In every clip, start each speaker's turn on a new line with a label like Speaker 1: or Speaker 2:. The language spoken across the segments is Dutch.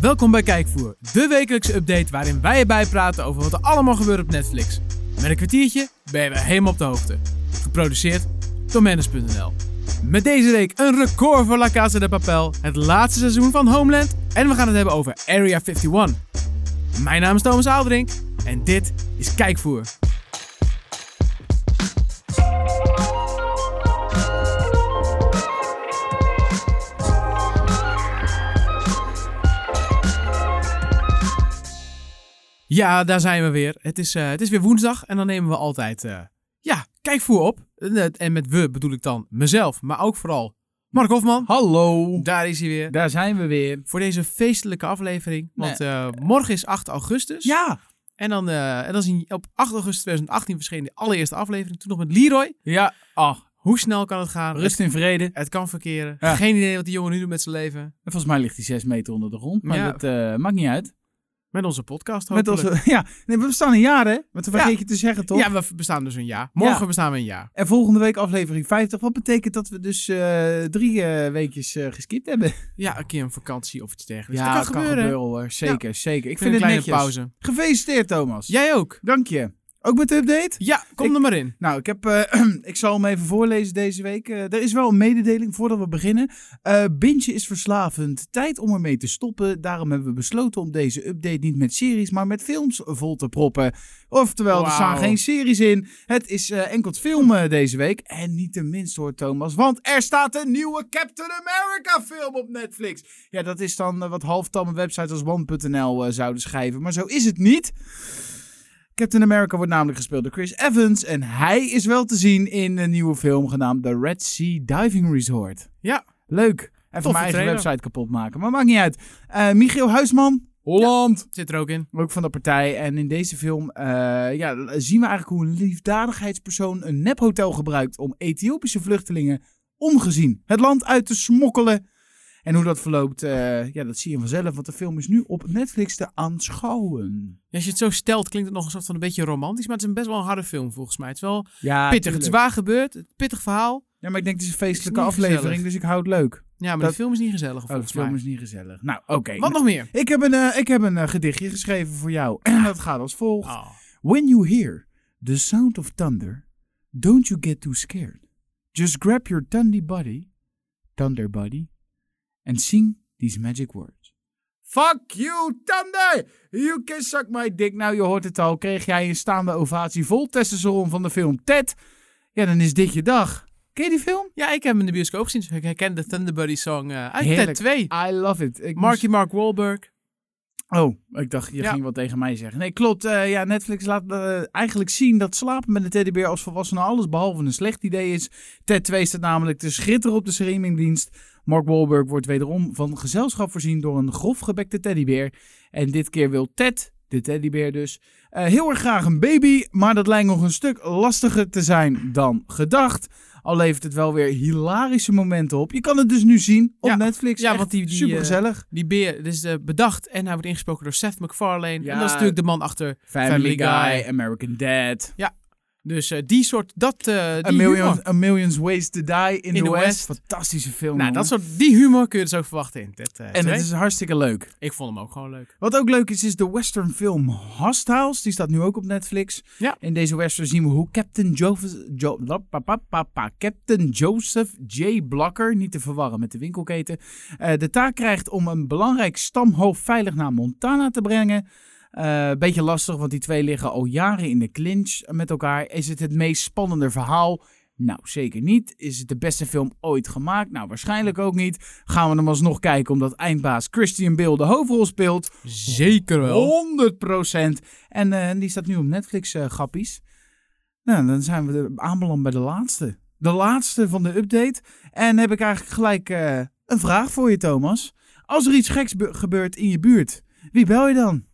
Speaker 1: Welkom bij Kijkvoer, de wekelijkse update waarin wij je bijpraten over wat er allemaal gebeurt op Netflix. Met een kwartiertje ben je weer helemaal op de hoogte. Geproduceerd door Manus.nl. Met deze week een record voor La Casa de Papel, het laatste seizoen van Homeland en we gaan het hebben over Area 51. Mijn naam is Thomas Aaldrink en dit is Kijkvoer. Ja, daar zijn we weer. Het is, eh, het is weer woensdag en dan nemen we altijd, eh, ja, kijkvoer op. En, eh, En met we bedoel ik dan mezelf, maar ook vooral Mark Hofman.
Speaker 2: Hallo,
Speaker 1: Daar is hij weer.
Speaker 2: daar zijn we weer.
Speaker 1: Voor deze feestelijke aflevering. Want eh, morgen is 8 augustus.
Speaker 2: Ja,
Speaker 1: En dan, eh, en dan is in- op 8 augustus 2018 verscheen de allereerste aflevering. Toen nog met Leroy.
Speaker 2: ja. Oh,
Speaker 1: Hoe snel kan het gaan?
Speaker 2: rust in vrede.
Speaker 1: Het, het kan verkeren.
Speaker 2: Ja.
Speaker 1: Geen idee wat die jongen nu doet met zijn leven.
Speaker 2: Volgens mij ligt hij zes meter onder de grond, maar
Speaker 1: Ja.
Speaker 2: dat eh, maakt niet uit.
Speaker 1: Met onze podcast
Speaker 2: Met
Speaker 1: hopelijk.
Speaker 2: onze, ja, nee, we bestaan een jaar hè, want dat
Speaker 1: Ja.
Speaker 2: vergeet je te zeggen toch?
Speaker 1: Ja, we bestaan dus een jaar. Morgen
Speaker 2: Ja.
Speaker 1: bestaan we een jaar.
Speaker 2: En volgende week aflevering 50, wat betekent dat we dus eh, drie eh, weekjes eh, geskipt hebben. Dus
Speaker 1: Ja, een keer een vakantie of iets dergelijks. dat kan,
Speaker 2: het
Speaker 1: gebeuren.
Speaker 2: hoor. Zeker, zeker. Ik
Speaker 1: Ik vind
Speaker 2: vind
Speaker 1: een
Speaker 2: het
Speaker 1: kleine
Speaker 2: netjes.
Speaker 1: pauze.
Speaker 2: Gefeliciteerd Thomas.
Speaker 1: Jij ook?
Speaker 2: Dank je. Ook met de update?
Speaker 1: Ja, kom
Speaker 2: Ik-
Speaker 1: er maar in.
Speaker 2: Nou, ik, heb, eh, ik zal hem even voorlezen deze week. Eh, er is wel een mededeling voordat we beginnen. Eh Bintje is verslavend. Tijd om ermee te stoppen. Daarom hebben we besloten om deze update niet met series, maar met films vol te proppen. Oftewel, er staan
Speaker 1: Wauw.
Speaker 2: geen series in. Het is eh enkel het filmen deze week. En niet de minste hoor, Thomas. Want er staat een nieuwe Captain America film op Netflix. Ja, dat is dan eh, wat halftamme websites als One.nl eh, zouden schrijven. Maar zo is het niet. Captain America wordt namelijk gespeeld door Chris Evans. En hij is wel te zien in een nieuwe film genaamd The Red Sea Diving Resort.
Speaker 1: Ja.
Speaker 2: Leuk.
Speaker 1: Toffe
Speaker 2: Even mijn eigen
Speaker 1: trailer.
Speaker 2: website kapot maken. Maar maakt niet uit. Eh, Michiel Huisman. Holland.
Speaker 1: Zit er ook in.
Speaker 2: Ook van de partij. En in deze film eh, ja, zien we eigenlijk hoe een liefdadigheidspersoon een nephotel gebruikt om Ethiopische vluchtelingen ongezien het land uit te smokkelen. En hoe dat verloopt, eh, ja, dat zie je vanzelf. Want de film is nu op Netflix te aanschouwen.
Speaker 1: Als je het zo stelt, klinkt het nog een soort van een beetje romantisch. Maar het is een best wel een harde film volgens mij. Het is wel
Speaker 2: Ja,
Speaker 1: pittig. Het is waar gebeurd. Het pittig verhaal.
Speaker 2: Ja, maar ik denk het is een feestelijke
Speaker 1: Het is niet
Speaker 2: aflevering,
Speaker 1: gezellig.
Speaker 2: dus ik hou het leuk.
Speaker 1: Ja, maar
Speaker 2: Dat-
Speaker 1: de film is niet gezellig
Speaker 2: Oh, het
Speaker 1: volgens
Speaker 2: film
Speaker 1: mij.
Speaker 2: is niet gezellig. Nou, oké.
Speaker 1: Wat nog meer?
Speaker 2: Ik heb een, eh, ik heb een eh, gedichtje geschreven voor jou. En dat gaat als volgt.
Speaker 1: Oh.
Speaker 2: When you hear the sound of thunder, don't you get too scared. Just grab your thunder body, thunder body, and sing these magic words. Fuck you, thunder! You can suck my dick. Nou, je hoort het al. Kreeg jij een staande ovatie vol testosteron van de film Ted? Ja, dan is dit je dag. Ken je die film?
Speaker 1: Ja, ik heb hem in de bioscoop gezien. dus ik herken de Thunderbuddy song eh, uit
Speaker 2: Heerlijk.
Speaker 1: Ted 2.
Speaker 2: I love it. Ik
Speaker 1: Marky Mark Wahlberg.
Speaker 2: Oh, ik dacht, je
Speaker 1: Ja.
Speaker 2: ging wat tegen mij zeggen. Nee, klopt. Eh, ja, Netflix laat eh, eigenlijk zien dat slapen met een teddybeer als volwassene alles behalve een slecht idee is. Ted 2 staat namelijk te schitteren op de streamingdienst. Mark Wahlberg wordt wederom van gezelschap voorzien door een grofgebekte teddybeer. En dit keer wil Ted, de teddybeer dus, eh, heel erg graag een baby. Maar dat lijkt nog een stuk lastiger te zijn dan gedacht. Al levert het wel weer hilarische momenten op. Je kan het dus nu zien op
Speaker 1: Ja.
Speaker 2: Netflix.
Speaker 1: Ja,
Speaker 2: Echt
Speaker 1: want die- die, eh,
Speaker 2: supergezellig.
Speaker 1: Die beer dit is eh, bedacht en hij wordt ingesproken door Seth MacFarlane.
Speaker 2: Ja.
Speaker 1: En dat is natuurlijk de man achter.
Speaker 2: Family,
Speaker 1: Family
Speaker 2: Guy,
Speaker 1: Guy,
Speaker 2: American Dad.
Speaker 1: Dus eh, die soort, dat, eh, die
Speaker 2: A million,
Speaker 1: humor.
Speaker 2: a Million's Ways to Die in,
Speaker 1: In
Speaker 2: the
Speaker 1: the
Speaker 2: West.
Speaker 1: West.
Speaker 2: Fantastische film.
Speaker 1: Nou,
Speaker 2: jongen.
Speaker 1: dat soort, die humor kun je dus ook verwachten in Ted eh, 2.
Speaker 2: en het is hartstikke leuk.
Speaker 1: Ik vond hem ook gewoon leuk.
Speaker 2: Wat ook leuk is, is de western film Hostiles. Die staat nu ook op Netflix.
Speaker 1: Ja.
Speaker 2: In deze western zien we hoe Captain Joseph, jo, la- pa- pa- pa- pa- Captain Joseph J. Blocker, niet te verwarren met de winkelketen, eh, de taak krijgt om een belangrijk stamhoofd veilig naar Montana te brengen. Eh, beetje lastig, want die twee liggen al jaren in de clinch met elkaar. Is het het meest spannende verhaal? Nou, zeker niet. Is het de beste film ooit gemaakt? Nou, waarschijnlijk ook niet. Gaan we hem alsnog kijken, omdat eindbaas Christian Bale de hoofdrol speelt.
Speaker 1: Zeker
Speaker 2: Oh, 100 En eh, die staat nu op Netflix, eh, grappies. Nou, dan zijn we er aanbeland bij de laatste. De laatste van de update. En heb ik eigenlijk gelijk eh, een vraag voor je, Thomas. Als er iets geks be- gebeurt in je buurt, wie bel je dan?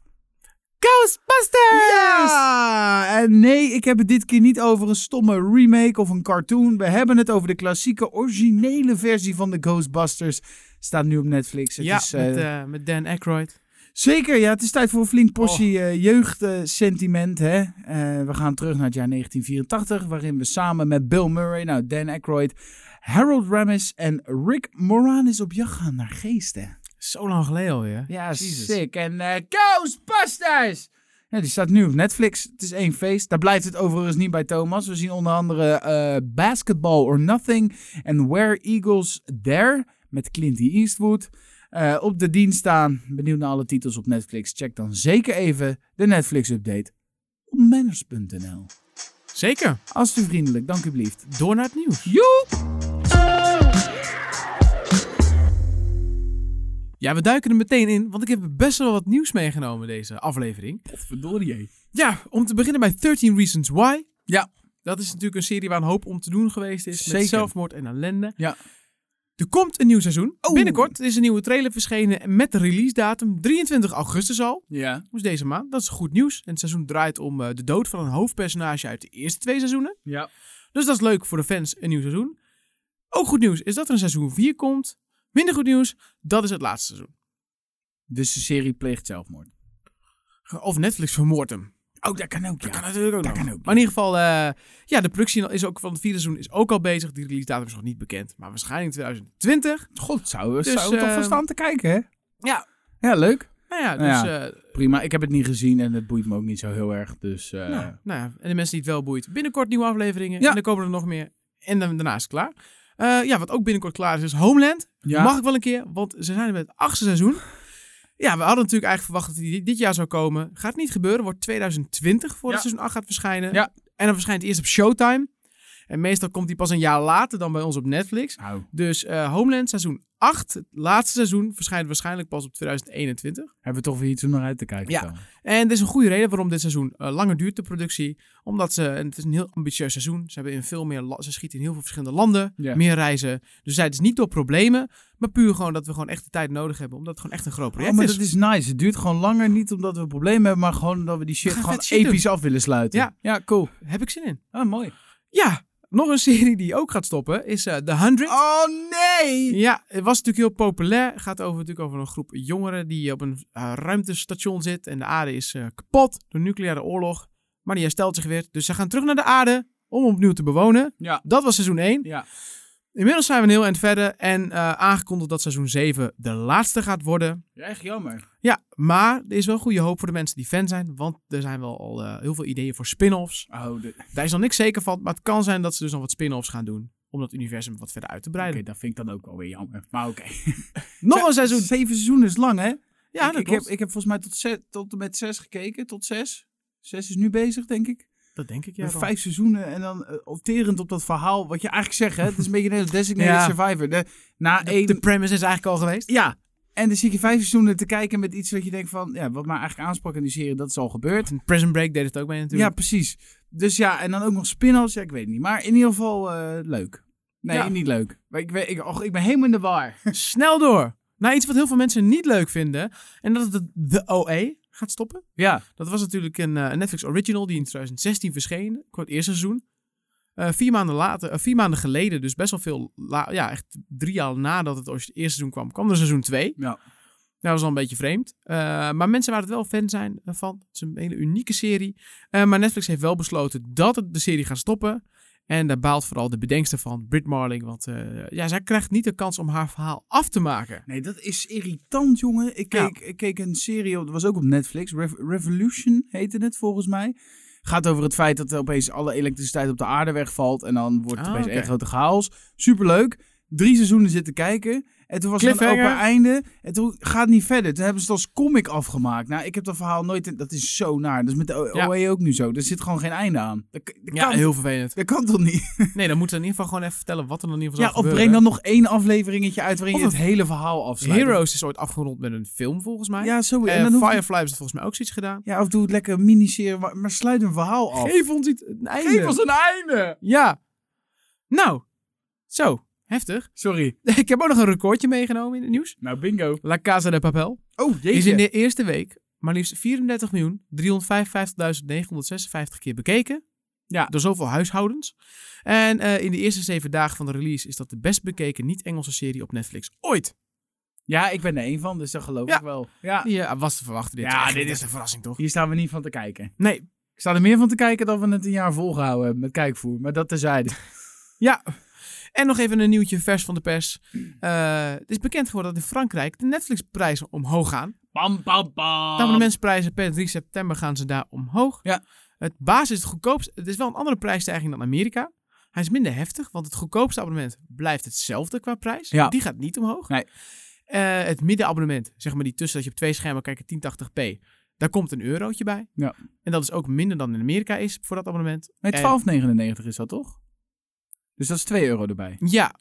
Speaker 1: Ghostbusters!
Speaker 2: Ja! En nee, ik heb het dit keer niet over een stomme remake of een cartoon. We hebben het over de klassieke, originele versie van de Ghostbusters. Staat nu op Netflix. Het
Speaker 1: ja,
Speaker 2: is, eh,
Speaker 1: met, eh, met Dan Aykroyd.
Speaker 2: Zeker, ja. Het is tijd voor een flink portie eh, jeugdsentiment. hè? Eh, we gaan terug naar het jaar 1984, waarin we samen met Bill Murray, nou, Dan Aykroyd, Harold Ramis en Rick Moranis op jacht gaan naar geesten.
Speaker 1: Zo lang geleden alweer.
Speaker 2: Ja,
Speaker 1: Jezus.
Speaker 2: sick. En uh, Ghostbusters! Ja, die staat nu op Netflix. Het is één feest. Daar blijft het overigens niet bij Thomas. We zien onder andere eh, Basketball or Nothing en Where Eagles Dare met Clint Eastwood eh, op de dienst staan. Benieuwd naar alle titels op Netflix? Check dan zeker even de Netflix-update op manners.nl.
Speaker 1: Zeker.
Speaker 2: Als u vriendelijk, dank u blieft.
Speaker 1: Door naar het nieuws.
Speaker 2: Joep!
Speaker 1: Ja, we duiken er meteen in, want ik heb best wel wat nieuws meegenomen deze aflevering.
Speaker 2: Verdorie.
Speaker 1: Ja, om te beginnen bij 13 Reasons Why.
Speaker 2: Ja.
Speaker 1: Dat is natuurlijk een serie waar een hoop om te doen geweest is.
Speaker 2: Zeker.
Speaker 1: Met zelfmoord en ellende.
Speaker 2: Ja.
Speaker 1: Er komt een nieuw seizoen.
Speaker 2: Oh.
Speaker 1: Binnenkort is een nieuwe trailer verschenen met de release datum 23 augustus al.
Speaker 2: Ja.
Speaker 1: Dus deze maand. Dat is goed nieuws. En het seizoen draait om eh, de dood van een hoofdpersonage uit de eerste twee seizoenen.
Speaker 2: Ja.
Speaker 1: Dus dat is leuk voor de fans, een nieuw seizoen. Ook goed nieuws is dat er een seizoen 4 komt. Minder goed nieuws, dat is het laatste seizoen.
Speaker 2: Dus de serie pleegt zelfmoord.
Speaker 1: Of Netflix vermoordt hem.
Speaker 2: Oh, dat kan ook,
Speaker 1: Dat kan natuurlijk ook
Speaker 2: Dat
Speaker 1: nog.
Speaker 2: kan ook.
Speaker 1: Maar in ieder geval, eh, ja, de productie is ook van het vierde seizoen is ook al bezig. Die release datum is nog niet bekend, maar waarschijnlijk 2020.
Speaker 2: God, zou,
Speaker 1: Dus,
Speaker 2: zou toch
Speaker 1: eh,
Speaker 2: van staan te kijken, hè?
Speaker 1: Ja,
Speaker 2: Ja, leuk.
Speaker 1: nou ja, dus...
Speaker 2: Nou
Speaker 1: eh,
Speaker 2: Prima. Ik heb het niet gezien en het boeit me ook niet zo heel erg. Dus eh,
Speaker 1: nou, nou ja, en de mensen die het wel boeit, binnenkort nieuwe afleveringen.
Speaker 2: Ja.
Speaker 1: En dan komen er nog meer. En dan, daarna is het klaar. Eh, ja, wat ook binnenkort klaar is, is Homeland.
Speaker 2: ja.
Speaker 1: Mag ik wel een keer, want ze zijn er met het achtste seizoen. Ja, we hadden natuurlijk eigenlijk verwacht dat die dit jaar zou komen. Gaat niet gebeuren, wordt 2020 voor het
Speaker 2: Ja.
Speaker 1: seizoen 8 gaat verschijnen.
Speaker 2: Ja.
Speaker 1: En dan verschijnt het eerst op Showtime. En meestal komt die pas een jaar later dan bij ons op Netflix.
Speaker 2: Nou,
Speaker 1: Dus eh, Homeland seizoen 8, het laatste seizoen, verschijnt waarschijnlijk pas op 2021.
Speaker 2: hebben we toch weer iets om naar uit te kijken.
Speaker 1: Ja.
Speaker 2: dan.
Speaker 1: En dit is een goede reden waarom dit seizoen eh, langer duurt, de productie. Omdat ze, en het is een heel ambitieus seizoen, ze, hebben in veel meer la- ze schieten in heel veel verschillende landen,
Speaker 2: Ja.
Speaker 1: meer reizen. Dus zij het is niet door problemen, maar puur gewoon dat we gewoon echt de tijd nodig hebben. Omdat het gewoon echt een groot
Speaker 2: Oh,
Speaker 1: project
Speaker 2: maar
Speaker 1: is.
Speaker 2: dat is nice. Het duurt gewoon langer. Niet omdat we problemen hebben, maar gewoon dat we die shit
Speaker 1: gaan
Speaker 2: gewoon
Speaker 1: vet shit
Speaker 2: episch af willen sluiten.
Speaker 1: Ja.
Speaker 2: ja cool.
Speaker 1: Heb ik zin in.
Speaker 2: Ah, mooi.
Speaker 1: Ja, nog een serie die ook gaat stoppen is eh, The Hundred.
Speaker 2: Oh, nee!
Speaker 1: Ja, het was natuurlijk heel populair. Het gaat over, natuurlijk over een groep jongeren die op een eh, ruimtestation zit. En de aarde is eh, kapot door nucleaire oorlog. Maar die herstelt zich weer. Dus ze gaan terug naar de aarde om opnieuw te bewonen.
Speaker 2: Ja.
Speaker 1: Dat was seizoen 1.
Speaker 2: Ja.
Speaker 1: Inmiddels zijn we een heel eind verder. En eh, aangekondigd dat seizoen 7 de laatste gaat worden.
Speaker 2: Ja, echt jammer.
Speaker 1: Ja, maar er is wel goede hoop voor de mensen die fan zijn. Want er zijn wel al eh, heel veel ideeën voor spin-offs.
Speaker 2: Oh, de-
Speaker 1: Daar is nog niks zeker van. Maar het kan zijn dat ze dus nog wat spin-offs gaan doen. Om dat universum wat verder uit te breiden.
Speaker 2: Oké, dat vind ik dan ook wel weer jammer. Maar oké.
Speaker 1: Nog een seizoen.
Speaker 2: Zeven seizoenen is lang, hè?
Speaker 1: Ja,
Speaker 2: ik,
Speaker 1: dat
Speaker 2: ik,
Speaker 1: klopt.
Speaker 2: heb, ik heb volgens mij tot, zes, tot en met zes gekeken. Tot zes. Zes is nu bezig, denk ik.
Speaker 1: Dat denk ik, ja.
Speaker 2: Met
Speaker 1: Ron.
Speaker 2: vijf seizoenen en dan eh, opterend op dat verhaal. Wat je eigenlijk zegt, hè? Het is een beetje net als Designated
Speaker 1: Ja.
Speaker 2: Survivor. De, na
Speaker 1: De,
Speaker 2: één...
Speaker 1: de premise is eigenlijk al geweest.
Speaker 2: ja. En dan zit je vijf seizoenen te kijken met iets wat je denkt van... Ja, wat mij eigenlijk aansprak in die serie, dat is al gebeurd.
Speaker 1: En Prison Break deed het ook mee
Speaker 2: Ja,
Speaker 1: natuurlijk.
Speaker 2: precies. Dus ja, en dan ook nog spin-offs. Ja, ik weet het niet. Maar in ieder geval eh, leuk. Nee,
Speaker 1: Ja.
Speaker 2: niet leuk. Maar ik, weet, ik, och, ik ben helemaal in de war.
Speaker 1: Snel door. Nou, iets wat heel veel mensen niet leuk vinden. En dat het de OA gaat stoppen.
Speaker 2: ja.
Speaker 1: Dat was natuurlijk een eh, Netflix original die in 2016 verscheen. Voor het eerste seizoen. Eh, vier, maanden later, eh, vier maanden geleden, dus best wel veel... la- ja, echt drie jaar nadat het eerste seizoen kwam, kwam er seizoen twee.
Speaker 2: Ja.
Speaker 1: Dat was al een beetje vreemd. Eh, maar mensen waar het wel fan zijn eh, van. Het is een hele unieke serie. Eh, maar Netflix heeft wel besloten dat het de serie gaat stoppen. En daar baalt vooral de bedenkster van, Britt Marling. Want eh, ja, zij krijgt niet de kans om haar verhaal af te maken.
Speaker 2: Nee, dat is irritant, jongen. Ik
Speaker 1: Ja.
Speaker 2: keek, ik keek een serie, op- dat was ook op Netflix. Rev- Revolution heette het volgens mij. Gaat over het feit dat er opeens alle elektriciteit op de aarde wegvalt. En dan wordt het
Speaker 1: Ah,
Speaker 2: opeens
Speaker 1: oké.
Speaker 2: één grote chaos. Superleuk. Drie seizoenen zitten kijken. En toen was er een
Speaker 1: Cliffhanger.
Speaker 2: open einde. En toen gaat het niet verder. Toen hebben ze het als comic afgemaakt. Nou, ik heb dat verhaal nooit... in- Dat is zo naar. Dat is met de O-
Speaker 1: Ja.
Speaker 2: OA ook nu zo. Er zit gewoon geen einde aan. Dat, k- dat
Speaker 1: Ja,
Speaker 2: kan,
Speaker 1: heel vervelend.
Speaker 2: dat kan toch niet?
Speaker 1: Nee, dan moeten we in ieder geval gewoon even vertellen wat er dan in ieder
Speaker 2: Ja,
Speaker 1: geval
Speaker 2: of
Speaker 1: zal
Speaker 2: breng
Speaker 1: gebeuren.
Speaker 2: dan nog één afleveringetje uit waarin
Speaker 1: Of
Speaker 2: je het
Speaker 1: een-
Speaker 2: hele verhaal afsluit.
Speaker 1: Heroes is ooit afgerond met een film, volgens mij.
Speaker 2: Ja, zo.
Speaker 1: en
Speaker 2: En dan hoeft het-
Speaker 1: Firefly heeft volgens mij ook zoiets gedaan.
Speaker 2: Ja, of doe het lekker een miniserie, maar, maar sluit een verhaal af.
Speaker 1: Geef ons iets, een einde.
Speaker 2: een einde!
Speaker 1: Ja. Nou. Zo. Heftig.
Speaker 2: Sorry.
Speaker 1: Ik heb ook nog een recordje meegenomen in het nieuws.
Speaker 2: Nou, bingo.
Speaker 1: La Casa de Papel
Speaker 2: Oh,
Speaker 1: is
Speaker 2: jeetje.
Speaker 1: in de eerste week maar liefst 34.355.956 keer bekeken.
Speaker 2: Ja.
Speaker 1: Door zoveel huishoudens. En eh, in de eerste zeven dagen van de release is dat de best bekeken niet-Engelse serie op Netflix ooit.
Speaker 2: Ja, ik ben er één van, dus dat geloof
Speaker 1: Ja.
Speaker 2: ik wel. Ja.
Speaker 1: Die eh, was te verwachten. Dit
Speaker 2: Ja,
Speaker 1: Echt,
Speaker 2: dit is-
Speaker 1: een verrassing toch?
Speaker 2: Hier staan we niet van te kijken.
Speaker 1: Nee.
Speaker 2: Ik sta er meer van te kijken dan we het een jaar volgehouden hebben met kijkvoer, maar dat terzijde.
Speaker 1: Ja. En nog even een nieuwtje vers van de pers. Eh, het is bekend geworden dat in Frankrijk de Netflix-prijzen omhoog gaan.
Speaker 2: Bam, bam, bam.
Speaker 1: De abonnementsprijzen per 3 september gaan ze daar omhoog.
Speaker 2: Ah. Ja.
Speaker 1: Het basis is het goedkoopst. Het is wel een andere prijsstijging dan Amerika. Hij is minder heftig, want het goedkoopste abonnement blijft hetzelfde qua prijs.
Speaker 2: Ja.
Speaker 1: Die gaat niet omhoog.
Speaker 2: Nee.
Speaker 1: Eh, het middenabonnement, zeg maar die tussen dat je op twee schermen kijkt, 1080p. Daar komt een eurotje bij.
Speaker 2: Ja.
Speaker 1: En dat is ook minder dan in Amerika is voor dat abonnement.
Speaker 2: Nee, 12,99 is dat toch? Dus dat is 2 euro erbij.
Speaker 1: Ja.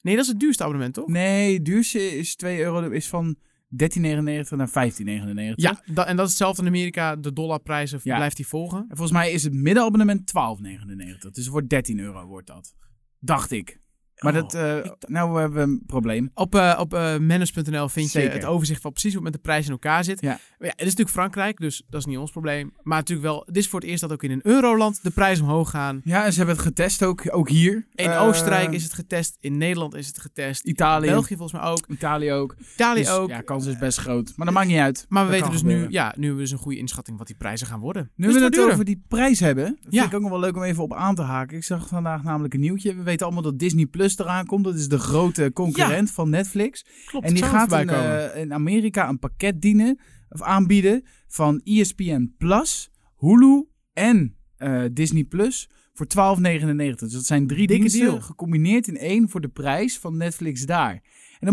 Speaker 1: Nee, dat is het duurste abonnement, toch?
Speaker 2: Nee, het duurste is 2 euro is van 13,99 naar 15,99.
Speaker 1: Ja, da- en dat is hetzelfde in Amerika. De dollarprijzen
Speaker 2: Ja.
Speaker 1: blijft die volgen.
Speaker 2: En volgens mij is het middenabonnement 12,99. Dus voor 13 euro wordt dat. Dacht ik. Maar
Speaker 1: Oh.
Speaker 2: dat, eh, nou hebben we een probleem.
Speaker 1: Op, eh op eh, manage.nl vind
Speaker 2: Zeker.
Speaker 1: je het overzicht van precies hoe het met de prijs in elkaar zit.
Speaker 2: Ja.
Speaker 1: Maar ja, het is natuurlijk Frankrijk, dus dat is niet ons probleem. Maar natuurlijk wel, het is voor het eerst dat ook in een euroland de prijzen omhoog gaan.
Speaker 2: Ja, en ze hebben het getest ook, ook hier.
Speaker 1: In
Speaker 2: Eh,
Speaker 1: Oostenrijk is het getest, in Nederland is het getest,
Speaker 2: Italië.
Speaker 1: België volgens mij ook,
Speaker 2: Italië ook.
Speaker 1: Italië
Speaker 2: Dus,
Speaker 1: ook.
Speaker 2: Ja, kans is best groot. Maar dat maakt niet uit.
Speaker 1: maar we
Speaker 2: Dat
Speaker 1: weten
Speaker 2: kan
Speaker 1: dus
Speaker 2: gebeuren.
Speaker 1: nu, ja, nu hebben we dus een goede inschatting wat die prijzen gaan worden.
Speaker 2: Nu
Speaker 1: dus
Speaker 2: we
Speaker 1: wordt
Speaker 2: het
Speaker 1: duurder.
Speaker 2: over die prijs hebben, vind
Speaker 1: Ja.
Speaker 2: ik ook nog wel leuk om even op aan te haken. Ik zag vandaag namelijk een nieuwtje. We weten allemaal dat Disney Plus eraan komt. Dat is de grote concurrent van Netflix.
Speaker 1: Klopt,
Speaker 2: en die gaat
Speaker 1: bij
Speaker 2: een,
Speaker 1: komen.
Speaker 2: eh, in Amerika een pakket dienen of aanbieden van E ESPN Plus, Hulu en eh, Disney Plus voor 12,99. Dus dat zijn drie
Speaker 1: Dikke
Speaker 2: diensten
Speaker 1: deal.
Speaker 2: gecombineerd in één voor de prijs van Netflix daar. En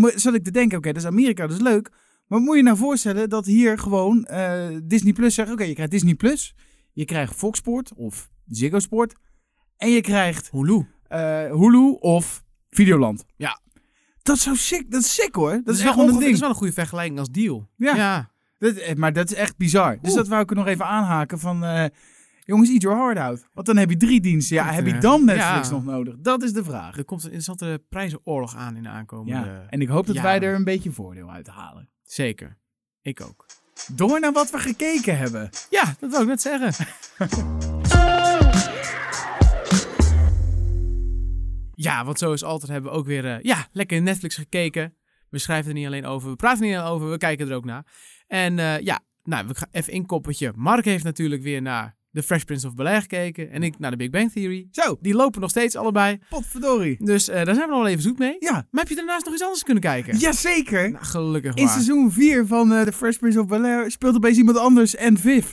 Speaker 2: dan mo- zat ik te denken, oké, dat is Amerika, dat is leuk. Maar moet je nou voorstellen dat hier gewoon eh, Disney Plus zegt, oké, je krijgt Disney Plus, je krijgt Fox Sport of Ziggo Sport en je krijgt
Speaker 1: Hulu.
Speaker 2: eh, Hulu of Videoland.
Speaker 1: Ja.
Speaker 2: Dat is zo sick. Dat is sick hoor. Dat, is
Speaker 1: echt
Speaker 2: wel gewoon een
Speaker 1: ongeveer- Dat
Speaker 2: ding.
Speaker 1: is wel een goede vergelijking als deal.
Speaker 2: Ja.
Speaker 1: ja.
Speaker 2: Dat, eh, maar dat is echt bizar. Dus
Speaker 1: Oeh.
Speaker 2: dat wou ik er nog even aanhaken van... eh, jongens, eat your heart out. Want dan heb je drie diensten. Ja,
Speaker 1: Goed,
Speaker 2: heb je
Speaker 1: eh,
Speaker 2: dan Netflix
Speaker 1: ja.
Speaker 2: nog nodig? Dat is de vraag.
Speaker 1: Er komt een interessante prijzenoorlog aan in de aankomende...
Speaker 2: Ja. En ik hoop dat
Speaker 1: eh, ja.
Speaker 2: wij er een beetje voordeel uit halen.
Speaker 1: Zeker. Ik ook.
Speaker 2: Door naar wat we gekeken hebben.
Speaker 1: Ja, dat wou ik net zeggen. ja, want zoals altijd hebben we ook weer eh, ja, lekker Netflix gekeken. We schrijven er niet alleen over, we praten er niet alleen over, we kijken er ook naar. En eh, ja, nou, we gaan even inkoppertje. Mark heeft natuurlijk weer naar The Fresh Prince of Bel-Air gekeken en ik naar The Big Bang Theory.
Speaker 2: Zo,
Speaker 1: Die lopen nog steeds allebei,
Speaker 2: potverdorie.
Speaker 1: dus eh, daar zijn we nog wel even zoet mee.
Speaker 2: Ja,
Speaker 1: Maar heb je daarnaast nog iets anders kunnen kijken?
Speaker 2: jazeker.
Speaker 1: Nou, gelukkig
Speaker 2: In
Speaker 1: maar.
Speaker 2: seizoen 4 van eh The Fresh Prince of Bel-Air speelt opeens iemand anders en Viv.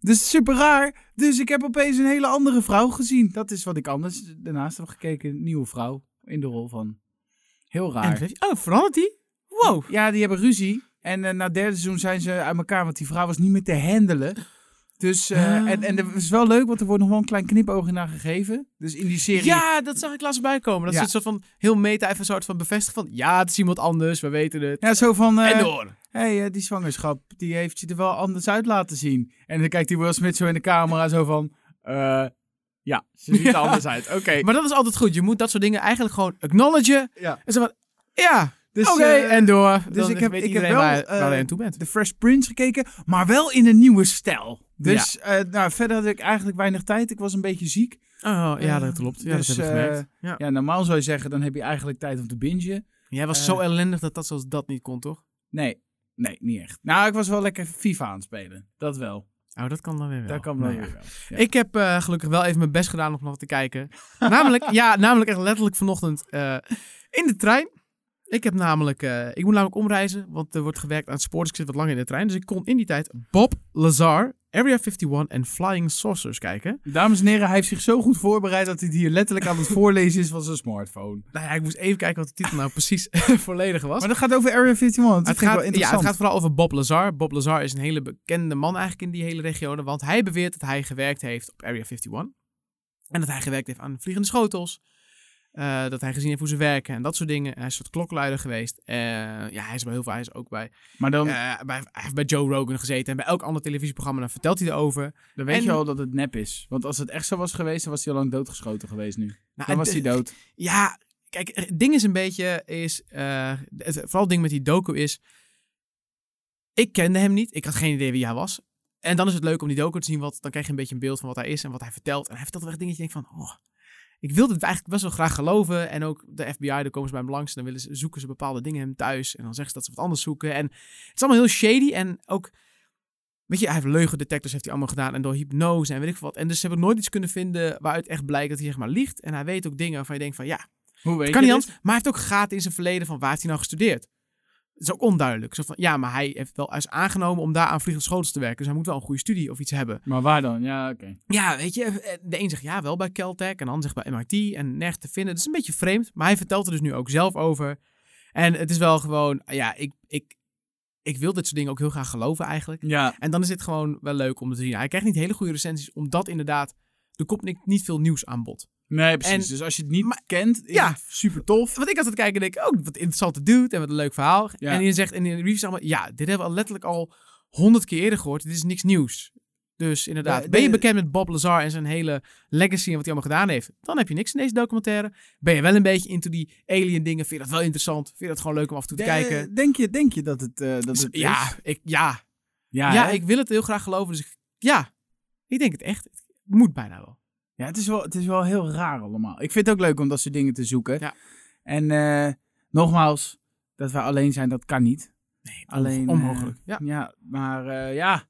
Speaker 2: Dus super raar. Dus ik heb opeens een hele andere vrouw gezien. Dat is wat ik anders daarnaast heb gekeken. Nieuwe vrouw in de rol van. Heel raar.
Speaker 1: En- oh, verandert die? Wow.
Speaker 2: Ja, die hebben ruzie. En eh, na het derde seizoen zijn ze uit elkaar, want die vrouw was niet meer te handelen. Dus, eh,
Speaker 1: Ah.
Speaker 2: en, en dat is wel leuk, want er wordt nog wel een klein knipoogje naar gegeven. Dus in die serie.
Speaker 1: Ja, dat zag ik laatst bij komen. Dat
Speaker 2: Ja.
Speaker 1: is een soort van heel meta, even een soort van bevestigen van ja, het is iemand anders, we weten het.
Speaker 2: Ja, zo van. eh,
Speaker 1: en door.
Speaker 2: Hé, hey, eh, die zwangerschap, die heeft je er wel anders uit laten zien. En dan kijkt die Will Smith zo in de camera, zo van... eh, ja, ze ziet er
Speaker 1: Ja.
Speaker 2: anders uit. Oké.
Speaker 1: Maar dat is altijd goed. Je moet dat soort dingen eigenlijk gewoon acknowledgen.
Speaker 2: Ja.
Speaker 1: En zo van ja,
Speaker 2: Dus,
Speaker 1: oké,
Speaker 2: eh,
Speaker 1: en door.
Speaker 2: dus
Speaker 1: Dan
Speaker 2: ik heb-
Speaker 1: weet
Speaker 2: ik heb
Speaker 1: iedereen
Speaker 2: wel,
Speaker 1: waar,
Speaker 2: eh,
Speaker 1: waar je aan toe bent.
Speaker 2: de Fresh Prince gekeken, maar wel in een nieuwe stijl. Dus eh, nou, verder had ik eigenlijk weinig tijd. Ik was een beetje ziek.
Speaker 1: Oh, ja,
Speaker 2: eh,
Speaker 1: dat klopt. Ja,
Speaker 2: dus,
Speaker 1: dat heb ik
Speaker 2: eh,
Speaker 1: gemerkt. Ja.
Speaker 2: Ja, normaal zou je zeggen, dan heb je eigenlijk tijd om te bingen.
Speaker 1: Jij was
Speaker 2: eh,
Speaker 1: zo ellendig dat dat zoals dat niet kon, toch?
Speaker 2: Nee, nee, niet echt. Nou, ik was wel lekker FIFA aan het spelen. Dat wel.
Speaker 1: Oh, dat kan dan weer wel.
Speaker 2: Dat kan wel.
Speaker 1: Nou
Speaker 2: weer
Speaker 1: ja.
Speaker 2: wel. Ja.
Speaker 1: Ik heb eh, gelukkig wel even mijn best gedaan om nog te kijken. namelijk, ja, namelijk echt letterlijk vanochtend eh, in de trein. Ik heb namelijk, eh, ik moet namelijk omreizen, want er wordt gewerkt aan het spoor, dus ik zit wat langer in de trein. Dus ik kon in die tijd Bob Lazar, Area 51 en Flying Saucers kijken.
Speaker 2: Dames en heren, hij heeft zich zo goed voorbereid dat hij het hier letterlijk aan het voorlezen is van zijn smartphone.
Speaker 1: Nou ja, ik moest even kijken wat de titel nou precies volledig was.
Speaker 2: Maar dat gaat over Area 51. Dat
Speaker 1: Het
Speaker 2: vind ik wel
Speaker 1: gaat, ja,
Speaker 2: interessant.
Speaker 1: het gaat vooral over Bob Lazar. Bob Lazar is een hele bekende man eigenlijk in die hele regio. Want hij beweert dat hij gewerkt heeft op Area 51. En dat hij gewerkt heeft aan vliegende schotels. Eh, dat hij gezien heeft hoe ze werken en dat soort dingen. Hij is een soort klokluider geweest. Eh, ja, hij is bij heel veel. Hij is ook bij,
Speaker 2: Maar dan,
Speaker 1: eh, bij, hij heeft bij Joe Rogan gezeten. En bij elk ander televisieprogramma dan vertelt hij erover. Nou,
Speaker 2: dan weet
Speaker 1: en-
Speaker 2: je al dat het nep is. Want als het echt zo was geweest, dan was hij al lang doodgeschoten geweest nu.
Speaker 1: Nou,
Speaker 2: Dan was hij
Speaker 1: het-
Speaker 2: dood.
Speaker 1: Ja, kijk, het ding is een beetje, is, eh, het, vooral het ding met die docu is, ik kende hem niet, ik had geen idee wie hij was. En dan is het leuk om die docu te zien, want dan krijg je een beetje een beeld van wat hij is en wat hij vertelt. En hij vertelt wel echt dingen dat je denkt van, oh, ik wilde het eigenlijk best wel graag geloven. En ook de FBI, daar komen ze bij hem langs en dan willen ze, zoeken ze bepaalde dingen hem thuis. En dan zeggen ze dat ze wat anders zoeken. En het is allemaal heel shady en ook... Weet je, hij heeft leugendetectors heeft hij allemaal gedaan en door hypnose en weet ik veel wat. En dus ze hebben nooit iets kunnen vinden waaruit echt blijkt dat hij zeg maar liegt. En hij weet ook dingen waarvan je denkt van ja,
Speaker 2: Hoe weet
Speaker 1: Het kan
Speaker 2: je
Speaker 1: niet
Speaker 2: dit?
Speaker 1: anders. Maar hij heeft ook gaten in zijn verleden van waar heeft hij nou gestudeerd. Dat is ook onduidelijk. Zo van, ja, maar hij heeft wel eens aangenomen om daar aan vliegende schotels te werken. Dus hij moet wel een goede studie of iets hebben.
Speaker 2: Maar waar dan? Ja, oké.
Speaker 1: Ja, weet je, eh, de een zegt ja, wel bij Caltech. En de ander zegt bij MIT. En nergens te vinden. Dat is een beetje vreemd. Maar hij vertelt er dus nu ook zelf over. En het is wel gewoon, ja, ik, ik, ik wil dit soort dingen ook heel graag geloven eigenlijk.
Speaker 2: Ja,
Speaker 1: En dan is het gewoon wel leuk om te zien. Hij krijgt niet hele goede recensies, omdat inderdaad er komt niet, niet veel nieuws aan bod.
Speaker 2: nee, precies.
Speaker 1: En-
Speaker 2: dus als je het niet kent, is
Speaker 1: Ja.
Speaker 2: het super tof.
Speaker 1: Want ik had het kijken en denk, oh, wat interessante dude en wat een leuk verhaal.
Speaker 2: Ja.
Speaker 1: En je zegt in de review zegt maar, ja, dit hebben we al letterlijk al honderd keer eerder gehoord. Dit is niks nieuws. Dus inderdaad,
Speaker 2: Ja,
Speaker 1: ben je
Speaker 2: de-
Speaker 1: bekend met Bob Lazar en zijn hele legacy en wat hij allemaal gedaan heeft? Dan heb je niks in deze documentaire. Ben je wel een beetje into die alien dingen? Vind je dat wel interessant? Vind je dat gewoon leuk om af en toe te kijken?
Speaker 2: Eh, Denk je, denk je dat het, eh, dat
Speaker 1: Dus
Speaker 2: het
Speaker 1: ja,
Speaker 2: is?
Speaker 1: ik, ja,
Speaker 2: Ja,
Speaker 1: ja,
Speaker 2: hè?
Speaker 1: ik wil het heel graag geloven. Dus ik, ja, ik denk het echt. Het moet bijna wel.
Speaker 2: ja het, is wel, het is wel heel raar allemaal. Ik vind het ook leuk om dat soort dingen te zoeken.
Speaker 1: Ja.
Speaker 2: En eh, nogmaals, dat wij alleen zijn, dat kan niet.
Speaker 1: Nee,
Speaker 2: Alleen,
Speaker 1: onmogelijk.
Speaker 2: eh,
Speaker 1: Ja.
Speaker 2: ja, maar eh, ja.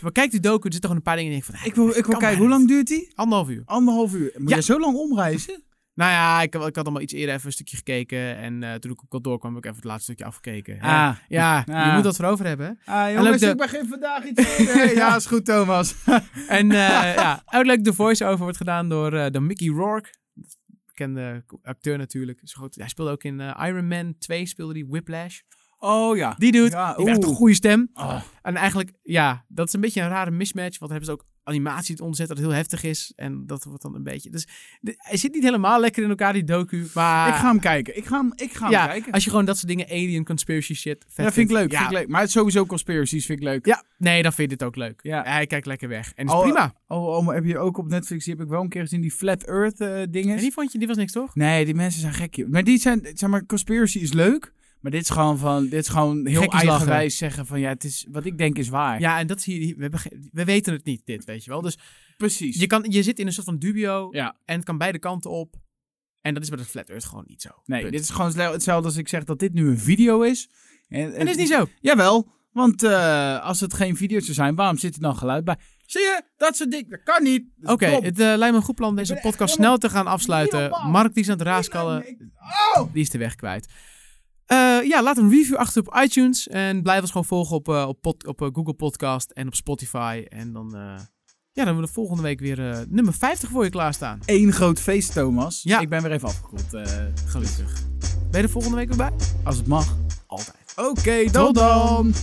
Speaker 1: Maar kijk die docu, er zitten gewoon een paar dingen die ik van,
Speaker 2: Ik wil, ik wil
Speaker 1: kan bijna
Speaker 2: kijken, hoe lang
Speaker 1: niet.
Speaker 2: duurt die?
Speaker 1: Anderhalf uur.
Speaker 2: Anderhalf uur. Moet
Speaker 1: Ja.
Speaker 2: je zo lang omreizen?
Speaker 1: Nou ja, ik, had- ik had allemaal iets eerder even een stukje gekeken. En eh, toen ik op kantoor kwam, heb ik even het laatste stukje afgekeken. Ja.
Speaker 2: Ah,
Speaker 1: ja, je
Speaker 2: Ah.
Speaker 1: moet dat erover hebben. hè?
Speaker 2: ah
Speaker 1: En ook
Speaker 2: jongens,
Speaker 1: de-
Speaker 2: ik begin vandaag iets eerder. ja, is goed Thomas.
Speaker 1: En eh ja, uitleg de voice-over wordt gedaan door, eh, door Mickey Rourke. Bekende acteur natuurlijk. Is goed. Hij speelde ook in eh, Iron Man 2, speelde die Whiplash.
Speaker 2: Oh ja.
Speaker 1: Die dude,
Speaker 2: Ja,
Speaker 1: die heeft echt
Speaker 2: oeh.
Speaker 1: een goede stem.
Speaker 2: Oh.
Speaker 1: En eigenlijk, ja, dat is een beetje een rare mismatch. Want dan hebben ze ook animatie het onderzet dat heel heftig is. En dat wordt dan een beetje... Dus de- hij zit niet helemaal lekker in elkaar, die docu. Maar
Speaker 2: Ik ga hem kijken. Ik ga hem, ik ga hem
Speaker 1: Ah. ja,
Speaker 2: Nou, kijken.
Speaker 1: als je gewoon dat soort dingen, alien conspiracy shit... vet
Speaker 2: Ja, vind ik leuk.
Speaker 1: Ja,
Speaker 2: Vind ik leuk. Maar het is sowieso conspiracies vind ik leuk.
Speaker 1: Ja, nee, dan vind je dit ook leuk.
Speaker 2: Ja.
Speaker 1: Hij kijkt lekker weg. En is
Speaker 2: Oh,
Speaker 1: prima.
Speaker 2: Oh, oh, maar heb je ook op Netflix, die heb ik wel een keer gezien, die Flat Earth eh dingen.
Speaker 1: En die vond je, die was niks toch?
Speaker 2: Nee, die mensen zijn gek. joh. Maar die zijn, zeg maar, conspiracy is leuk. Maar dit is gewoon van, dit is gewoon heel
Speaker 1: Gekkies lachen.
Speaker 2: eigenwijs zeggen van, ja, het is, wat ik denk is waar.
Speaker 1: Ja, en dat zie je, hier- we, hebben ge- we weten het niet, dit, weet je wel. Dus
Speaker 2: precies.
Speaker 1: je, kan, je zit in een soort van dubio
Speaker 2: Ja.
Speaker 1: en het kan beide kanten op. En dat is bij dat Flat Earth gewoon niet zo.
Speaker 2: nee,
Speaker 1: Punt.
Speaker 2: dit is gewoon sle- hetzelfde als ik zeg dat dit nu een video is. En,
Speaker 1: En dat is niet zo.
Speaker 2: Jawel, want eh, als het geen video's zou zijn, waarom zit er dan geluid bij? Zie je, dat soort dingen, dat kan niet. Dat is
Speaker 1: Oké,
Speaker 2: dom.
Speaker 1: het eh, lijkt me een goed plan om deze
Speaker 2: ben echt
Speaker 1: podcast snel
Speaker 2: helemaal-
Speaker 1: te gaan afsluiten.
Speaker 2: Helemaal.
Speaker 1: Mark die is aan het raaskallen,
Speaker 2: Oh!
Speaker 1: die is de weg kwijt. Eh, ja, laat een review achter op iTunes. En blijf ons gewoon volgen op, eh, op, pod- op eh, Google Podcast en op Spotify. En dan, eh, ja, dan hebben we de volgende week weer eh, nummer 50 voor je klaarstaan.
Speaker 2: Eén groot feest, Thomas.
Speaker 1: Ja.
Speaker 2: Ik ben weer even afgekoeld, eh, gelukkig.
Speaker 1: Ben je er volgende week weer bij?
Speaker 2: Als het mag.
Speaker 1: Altijd.
Speaker 2: Oké, tot dan.